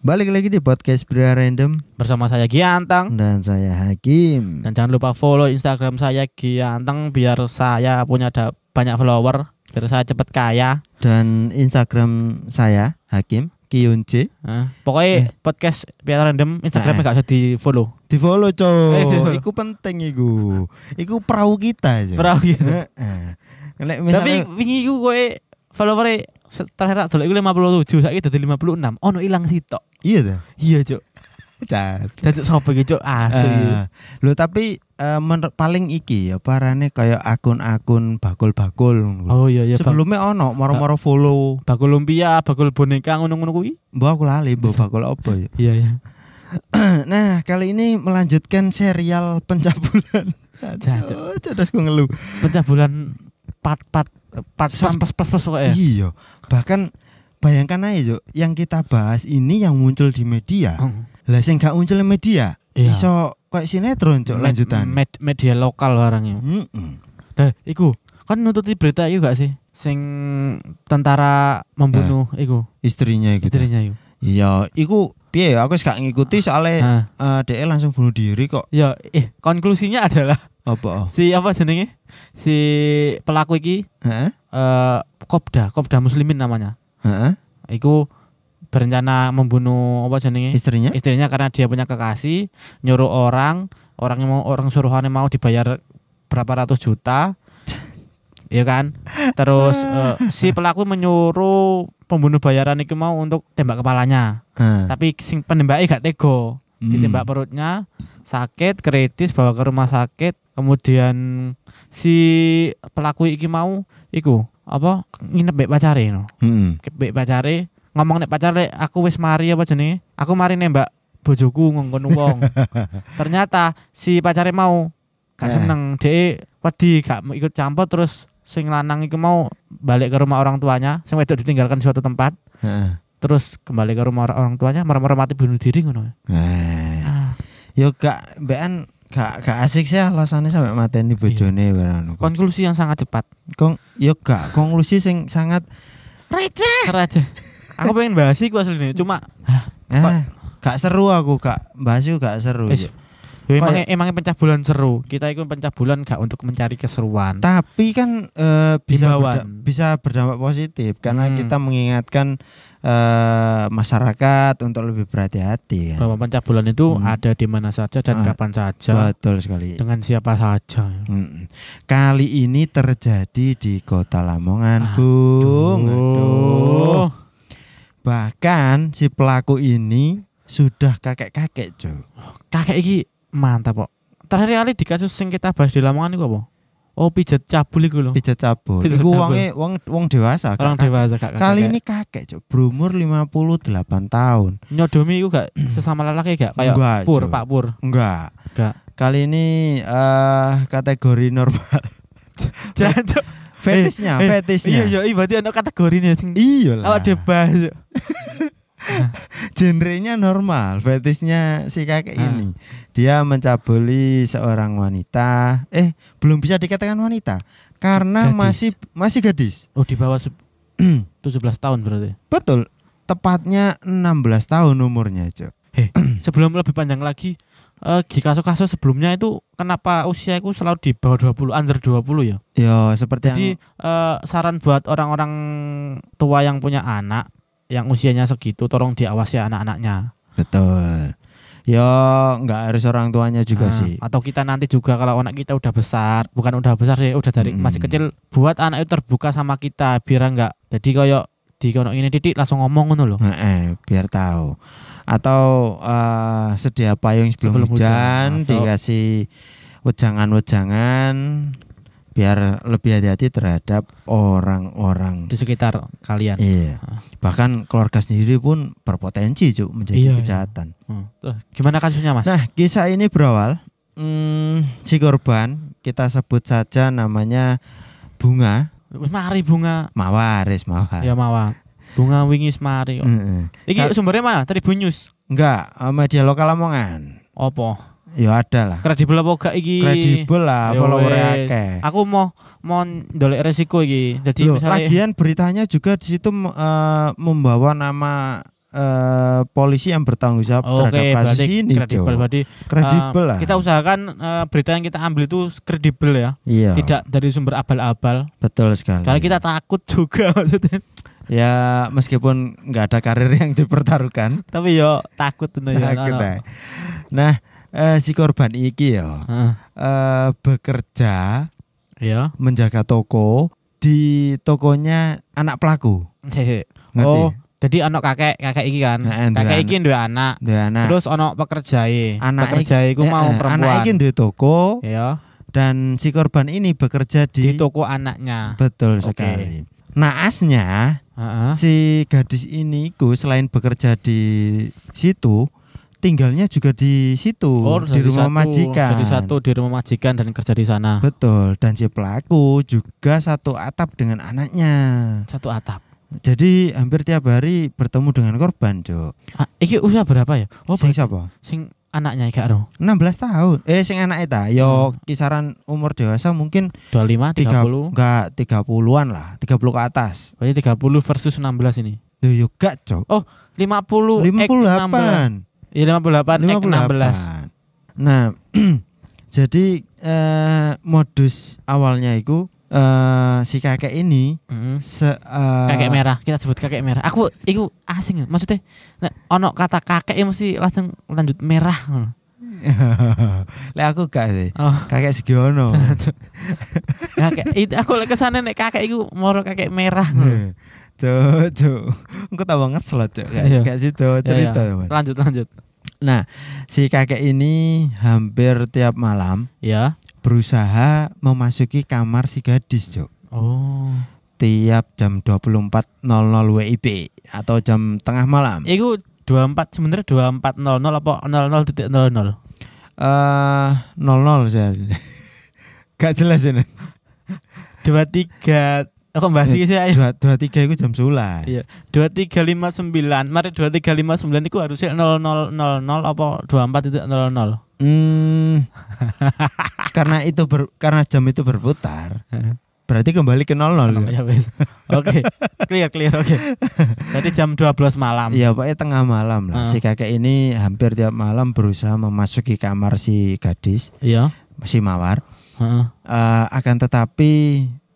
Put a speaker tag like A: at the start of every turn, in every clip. A: Balik lagi di podcast Bria Random
B: bersama saya Giantang
A: dan saya Hakim.
B: dan jangan lupa follow Instagram saya Giantang biar saya punya ada banyak follower biar saya cepet kaya.
A: Dan Instagram saya Hakim Kiyunce.
B: Nah, pokoknya podcast biar random Instagramnya
A: Eh.
B: gak usah di follow.
A: Di follow cow.
B: Eh.
A: iku penting iku. Iku perahu kita aja.
B: Perahu gitu. Tapi
A: Tapi
B: wingi iku kowe followernya se- terakhir tak delok iku 57, saiki dadi 56. Ono ilang sitok.
A: iya dah.
B: Iya, Cuk.
A: Cat.
B: Dadi sapa iki, Cuk? Asli.
A: Eh, Lho tapi eh, menurut paling iki ya parane kayak akun-akun bakul-bakul. ngono.
B: oh iya iya. Sebelum
A: Sebelumnya ono moro-moro follow.
B: bakul lumpia, bakul boneka ngono-ngono kuwi.
A: Mbok aku lali mbok bakul apa ya.
B: Iya, iya.
A: Nah, kali ini melanjutkan serial pencabulan.
B: Jancuk.
A: Aduh, cerdas gue ngeluh.
B: Pencabulan part-part part plus
A: Sam-
B: plus plus plus pokoknya.
A: Iya, bahkan bayangkan aja Cuk, yang kita bahas ini yang muncul di media.
B: Hmm.
A: Lah sing gak muncul di media,
B: Iya.
A: iso kayak sinetron cok
B: Med-
A: lanjutan.
B: med- media lokal barangnya.
A: Mm-mm.
B: Dah, iku kan nututi berita iku gak sih? Sing tentara membunuh iku
A: Istrinya gitu.
B: istrinya iku.
A: Iya, iku piye ya, aku wis gak ngikuti soalnya eh,
B: Nah,
A: DE langsung bunuh diri kok.
B: ya eh konklusinya adalah
A: Apa?
B: si apa jenenge? Si pelaku iki
A: Heeh.
B: eh Kopda, Kopda Muslimin namanya.
A: Heeh.
B: Eh. Iku berencana membunuh apa jenenge?
A: Istrinya?
B: Istrinya karena dia punya kekasih, nyuruh orang, orang yang mau orang suruhannya mau dibayar berapa ratus juta. Iya kan? Terus eh, si pelaku menyuruh pembunuh bayaran itu mau untuk tembak kepalanya.
A: Heeh.
B: Tapi sing penembaknya gak tego.
A: Hmm.
B: Ditembak perutnya, sakit, kritis, bawa ke rumah sakit. Kemudian si pelaku iki mau iku apa nginep mbek pacare no.
A: Mm-mm.
B: Mbek pacare ngomong nek pacare aku wis mari apa jenenge? Aku mari nembak bojoku ngongkon wong. Ternyata si pacare mau gak
A: Eh.
B: seneng, dhek wedi gak mau ikut campur terus sing lanang iku mau balik ke rumah orang tuanya, sing wedok ditinggalkan di suatu tempat,
A: Heeh.
B: terus kembali ke rumah orang tuanya, merem-merem mati bunuh diri ngono.
A: Nah.
B: Ah.
A: Yo gak mbekan gak gak asik sih alasannya sampai mateni
B: Iya.
A: bojone barang kon
B: konklusi yang sangat cepat.
A: kon yo gak konklusi sing sangat receh
B: Raja. Aku pengen bahas iku asline, cuma
A: ah, gak seru aku gak bahas iku gak seru
B: Wis.
A: Cuk.
B: ya emang emang pencabulan seru. Kita iku pencabulan gak untuk mencari keseruan.
A: tapi kan eh, bisa
B: Himbauan.
A: berda- bisa berdampak positif karena
B: Hmm.
A: kita mengingatkan eh, masyarakat untuk lebih berhati-hati kan.
B: Bahwa pencabulan itu
A: Hmm.
B: ada di mana saja dan
A: Ah,
B: kapan saja,
A: betul sekali
B: dengan siapa saja.
A: Mm-mm. Kali ini terjadi di Kota Lamongan,
B: Aduh.
A: Bung. Aduh.
B: Oh.
A: Bahkan si pelaku ini sudah kakek-kakek, Jo.
B: Kakek iki mantap, kok. Terakhir kali di kasus yang kita bahas di Lamongan iku apa? Oh, pijat cabul iku lho.
A: Pijat cabul.
B: Pijat
A: Iku
B: cabul.
A: wonge wong wong dewasa.
B: Orang
A: kakek.
B: dewasa kak.
A: Kali ini kakek, Jo, berumur 58 tahun.
B: nyodomi iku gak sesama lelaki gak kayak
A: Hmm. Enggak,
B: pur,
A: Jo.
B: Pak Pur.
A: Enggak.
B: Enggak.
A: Kali ini eh kategori normal. Iya.
B: Jancuk.
A: fetisnya,
B: eh,
A: fetisnya.
B: Iya, iya, iya, berarti ono kategorine sing
A: Iya lah.
B: awak debas.
A: Genrenya normal, fetisnya si kakek
B: Ah.
A: ini. Dia mencabuli seorang wanita. Eh, belum bisa dikatakan wanita karena
B: Gadis.
A: masih masih gadis.
B: Oh di bawah se- 17 tahun berarti.
A: Betul. Tepatnya 16 tahun umurnya, Cok.
B: Sebelum lebih panjang lagi eh di kasus-kasus sebelumnya itu kenapa usia itu selalu di bawah 20 under 20 ya.
A: Yo, seperti
B: Jadi eh, saran buat orang-orang tua yang punya anak yang usianya segitu tolong diawasi anak-anaknya.
A: yang betul. Yo, nggak harus orang tuanya juga
B: Nah,
A: sih.
B: Atau kita nanti juga kalau anak kita udah besar, bukan udah besar sih, udah dari
A: Hmm.
B: masih kecil buat anak itu terbuka sama kita biar enggak jadi koyo di kono ini titik langsung ngomong ngono loh.
A: Eh, eh, biar tahu. Atau eh, sedia payung sebelum,
B: Sebelum
A: hujan,
B: hujan, masuk.
A: dikasih wejangan-wejangan biar lebih hati-hati terhadap orang-orang.
B: di Ah. sekitar kalian.
A: Iya. Bahkan keluarga sendiri pun berpotensi, Cuk,
B: Iya,
A: menjadi
B: iya.
A: kejahatan.
B: Hmm. Terus, Gimana kasusnya, Mas?
A: Nah, kisah ini berawal hmm, si korban kita sebut saja namanya Bunga
B: Wis mari bunga.
A: Mawaris Mawar.
B: Ya mawa. Bunga wingi semari. kok.
A: Heeh.
B: Iki
A: Kal-
B: sumbernya mana? Tribun News.
A: Enggak, eh, media lokal Lamongan.
B: Apa?
A: Ya ada lah.
B: Kredibel apa gak iki?
A: Kredibel lah,
B: Yo,
A: follower
B: wes.
A: akeh.
B: Aku mau mau ndolek resiko iki. Jadi
A: Loh,
B: misalnya
A: lagian beritanya juga di situ eh, membawa nama eh, polisi yang bertanggung jawab terhadap
B: Oke,
A: kasus
B: berarti
A: ini, Jo. Nah.
B: kredibel. Berarti
A: Kredibel
B: eh,
A: lah.
B: Kita usahakan eh, berita yang kita ambil itu kredibel ya,
A: iya,
B: tidak dari sumber abal-abal.
A: betul sekali.
B: Karena kita takut juga maksudnya.
A: Ya meskipun nggak ada karir yang dipertaruhkan.
B: Tapi yo takut no, yo, no,
A: Takut,
B: Iya, no.
A: eh. Nah, eh, si korban iki ya
B: Heeh.
A: eh, bekerja
B: Iya.
A: menjaga toko di tokonya anak pelaku.
B: Sik, sik.
A: Ngerti?
B: Oh, jadi anak kakek, kakek iki kan.
A: Heeh, dua
B: kakek iki duwe anak.
A: Dua anak.
B: Terus ono pekerjae.
A: Anak
B: Pekerjae iku
A: nah, Eh,
B: mau
A: eh,
B: perempuan.
A: Anak iki duwe toko
B: Ya,
A: dan si korban ini bekerja di,
B: di toko anaknya.
A: betul
B: Oke.
A: sekali. Naasnya
B: Heeh.
A: si gadis ini ku selain bekerja di situ tinggalnya juga di situ
B: Oh,
A: di
B: jadi
A: rumah
B: satu-
A: majikan.
B: Jadi satu di rumah majikan dan kerja di sana.
A: Betul, dan si pelaku juga satu atap dengan anaknya.
B: Satu atap.
A: Jadi hampir tiap hari bertemu dengan korban, Cuk.
B: Ah, iki usia berapa ya? Oh,
A: sing
B: sing,
A: siapa?
B: sing anaknya iki karo.
A: 16 tahun. Eh sing anak eta
B: Hmm.
A: yo kisaran umur dewasa mungkin
B: 25,
A: tiga
B: 30.
A: enggak 30-an lah, 30 ke atas.
B: Berarti 30 versus 16 ini.
A: Duh, yo gak, Cuk.
B: 50 ek
A: 58.
B: 16. Iya 58 ek
A: 58.
B: 16.
A: Nah, jadi eh, modus awalnya itu eh, si kakek ini
B: Mm.
A: se, eh,
B: Kakek merah, kita sebut kakek merah. Aku iku asing, maksudnya nek ono kata kakek ya mesti langsung lanjut merah ngono.
A: Lah aku gak sih.
B: Oh,
A: Kakek Sugiono.
B: kakek itu aku lek kesana nek kakek iku moro kakek merah. ngono.
A: Heh. Cuk, cuk. Engko tawa ngeslot cuk. Kayak
B: Iya.
A: kayak situ cerita.
B: Ya, ya.
A: Wan.
B: Lanjut lanjut.
A: Nah, si kakek ini hampir tiap malam
B: Ya.
A: berusaha memasuki kamar si gadis, cuk.
B: Oh.
A: Tiap jam 24.00 WIB atau jam tengah malam. Eh
B: Iku 24 sebenarnya 2400 apa 00.00.
A: Eh, 00 saya. Gak jelas ini.
B: 23 Aku bahas iki sih
A: eh,
B: ayo.
A: 23 itu jam 11.
B: Iya. 2359. Mari 2359 iku harusnya 0000 apa 24.00.
A: Hmm, karena itu ber- karena jam itu berputar, berarti kembali ke nol nol.
B: Ya wis. Oke. Clear clear oke. Jadi jam 12 malam.
A: Iya, pokoknya tengah malam lah.
B: Ah.
A: Si kakek ini hampir tiap malam berusaha memasuki kamar si gadis,
B: Iya.
A: si mawar.
B: Heeh.
A: Eh, akan tetapi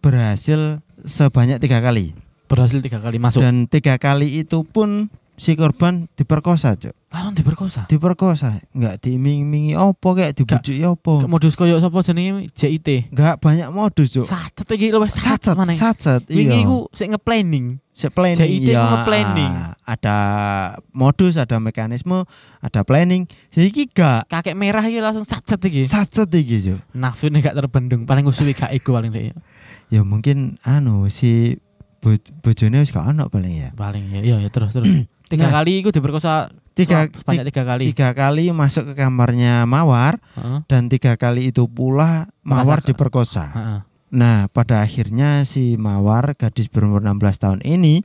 A: berhasil sebanyak tiga kali.
B: Berhasil tiga kali masuk.
A: Dan tiga kali itu pun si korban diperkosa, Cuk.
B: Lalu diperkosa.
A: Diperkosa, nggak diiming-imingi opo kayak dibujuki opo.
B: modus koyo sapa jenenge JIT.
A: Nggak banyak modus, Cuk.
B: Sacet iki luwes
A: Sacet,
B: sacet maneh.
A: sacet,
B: Wingi
A: iya.
B: iku sik nge-planning.
A: Si planning iya.
B: JIT itu nge-planning.
A: ada modus, ada mekanisme, ada planning. Jadi iki gak
B: Kakek merah iki langsung sacet iki.
A: sacet iki, Cuk.
B: Nafsu ini gak terbendung, paling usuwi gak iku paling deh.
A: Ya mungkin anu si bo bojone wis gak ono paling ya.
B: Paling ya, iya, iya, terus terus. Tiga
A: Nah.
B: kali iku diperkosa
A: Tiga
B: selama- sebanyak tiga kali.
A: tiga kali masuk ke kamarnya Mawar
B: Heeh.
A: dan tiga kali itu pula Mawar
B: Masa-
A: diperkosa.
B: heeh.
A: Nah, pada akhirnya si Mawar gadis berumur 16 tahun ini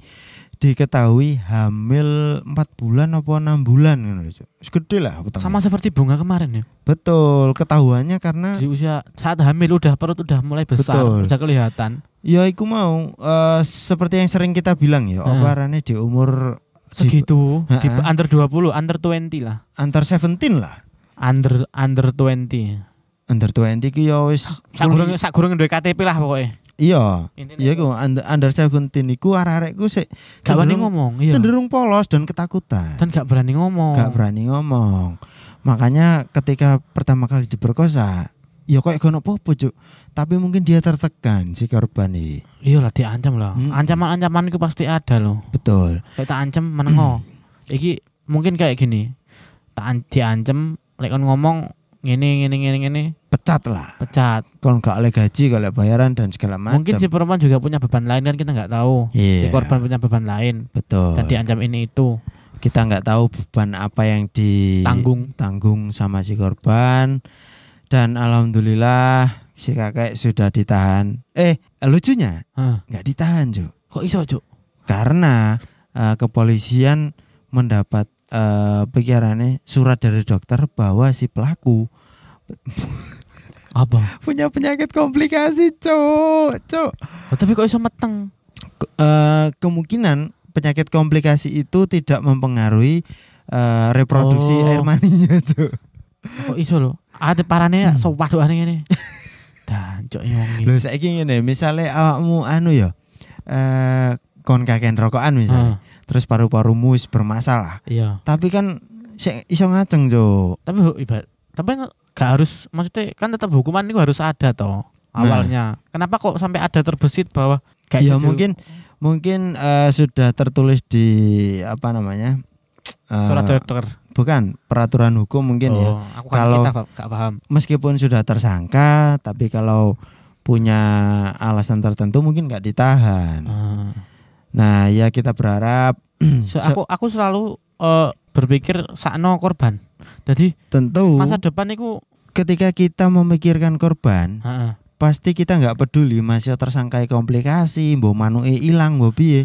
A: diketahui hamil 4 bulan apa 6 bulan ngono lho, Cuk. Wis Gede lah utangnya.
B: Sama seperti bunga kemarin ya.
A: betul ketahuannya karena
B: Di usia saat hamil udah perut udah mulai besar,
A: Betul.
B: udah kelihatan.
A: ya iku mau eh, seperti yang sering kita bilang ya,
B: Heeh.
A: apa arane di umur di-
B: Segitu, di,
A: Heeh.
B: under 20, under 20 lah.
A: antar 17 lah.
B: Under under 20.
A: Under 20 ku ya wis
B: Sak
A: fully-
B: gurung sak gurung duwe KTP lah pokoknya.
A: Iya.
B: Intinya
A: Iya iku under, under 17 iku arek-arek ku sik
B: Gak berani
A: cenderung-
B: ngomong, iya.
A: cenderung polos dan ketakutan.
B: Dan gak berani ngomong.
A: gak berani ngomong. Makanya ketika pertama kali diperkosa, ya kok gak apa-apa, Cuk. Tapi mungkin dia tertekan si korban ini.
B: Iya lah diancam lah.
A: Hmm.
B: Ancaman-ancaman itu pasti ada loh.
A: Betul.
B: Lek tak ancam menengo. Iki mungkin kayak gini. Tak an- diancem lek kon ngomong ngene ngene ngene ngene
A: Pecat lah.
B: pecat.
A: Kalau gak oleh gaji, gak oleh bayaran dan segala macam.
B: Mungkin si perempuan juga punya beban lain kan kita nggak tahu. Si
A: Iya, Oh.
B: korban punya beban lain
A: betul.
B: dan diancam ini itu
A: kita nggak tahu beban apa yang ditanggung
B: tanggung.
A: sama si korban. Dan alhamdulillah si kakek sudah ditahan. Eh, lucunya
B: Hah,
A: nggak ditahan, Cuk.
B: kok iso, Cuk?
A: karena eh, kepolisian mendapat eh, pikirannya surat dari dokter bahwa si pelaku
B: Apa?
A: punya penyakit komplikasi cok cok
B: Oh, tapi kok iso meteng?
A: eh, kemungkinan penyakit komplikasi itu tidak mempengaruhi eh, reproduksi
B: Oh.
A: air maninya tuh.
B: Kok iso lho? Ada parane
A: Hmm.
B: hmm. sok waduhane ngene. Dancuk e wong iki.
A: Lho saiki ngene, misale awakmu anu ya eh kon kakean rokokan misalnya,
B: Ah,
A: terus paru-parumu wis bermasalah.
B: Iya.
A: Tapi kan sik iso ngaceng, Cuk.
B: Tapi hu- ibarat tapi gak harus maksudnya kan tetap hukuman itu harus ada toh awalnya. Kenapa kok sampai ada terbesit bahwa gitu? gak
A: Nah. Ya
B: iso di-
A: mungkin mungkin eh, sudah tertulis di apa namanya? eh,
B: surat dokter.
A: bukan peraturan hukum mungkin ya.
B: Oh, aku kan
A: Kalau-
B: kita gak- gak paham.
A: Meskipun sudah tersangka, tapi kalau punya alasan tertentu mungkin nggak ditahan.
B: Ah.
A: Nah, ya kita berharap
B: Hmm. So,
A: se-
B: aku aku selalu eh, berpikir sakno korban. Jadi
A: tentu
B: masa depan itu
A: ketika kita memikirkan korban,
B: heeh.
A: pasti kita nggak peduli masih tersangkai komplikasi mbok manuke ilang mbok piye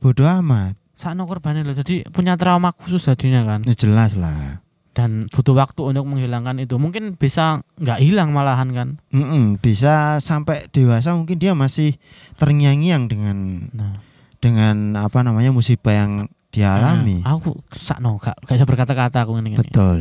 A: bodoh amat
B: sakno korbannya loh. Jadi punya trauma khusus jadinya kan.
A: ya jelas lah
B: dan butuh waktu untuk menghilangkan itu mungkin bisa nggak hilang malahan kan
A: Mm-mm, bisa sampai dewasa mungkin dia masih terngiang-ngiang dengan
B: nah
A: dengan apa namanya musibah yang dia alami
B: nah, aku sakno gak gak bisa berkata-kata aku ngene ngene
A: betul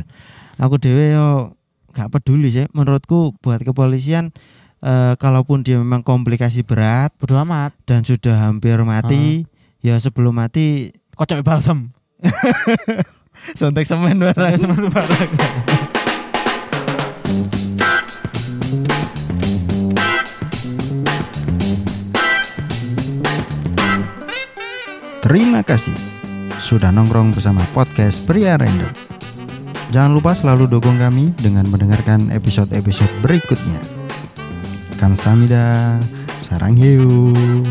A: aku dewe yo nggak peduli sih menurutku buat kepolisian eh, kalaupun dia memang komplikasi berat
B: bodo amat
A: dan sudah hampir mati ya sebelum mati
B: kocok balsem
A: sontek semen barang. Terima kasih sudah nongkrong bersama podcast Pria Random. Jangan lupa selalu dukung kami dengan mendengarkan episode-episode berikutnya. Kamsahamnida, sarang hiu.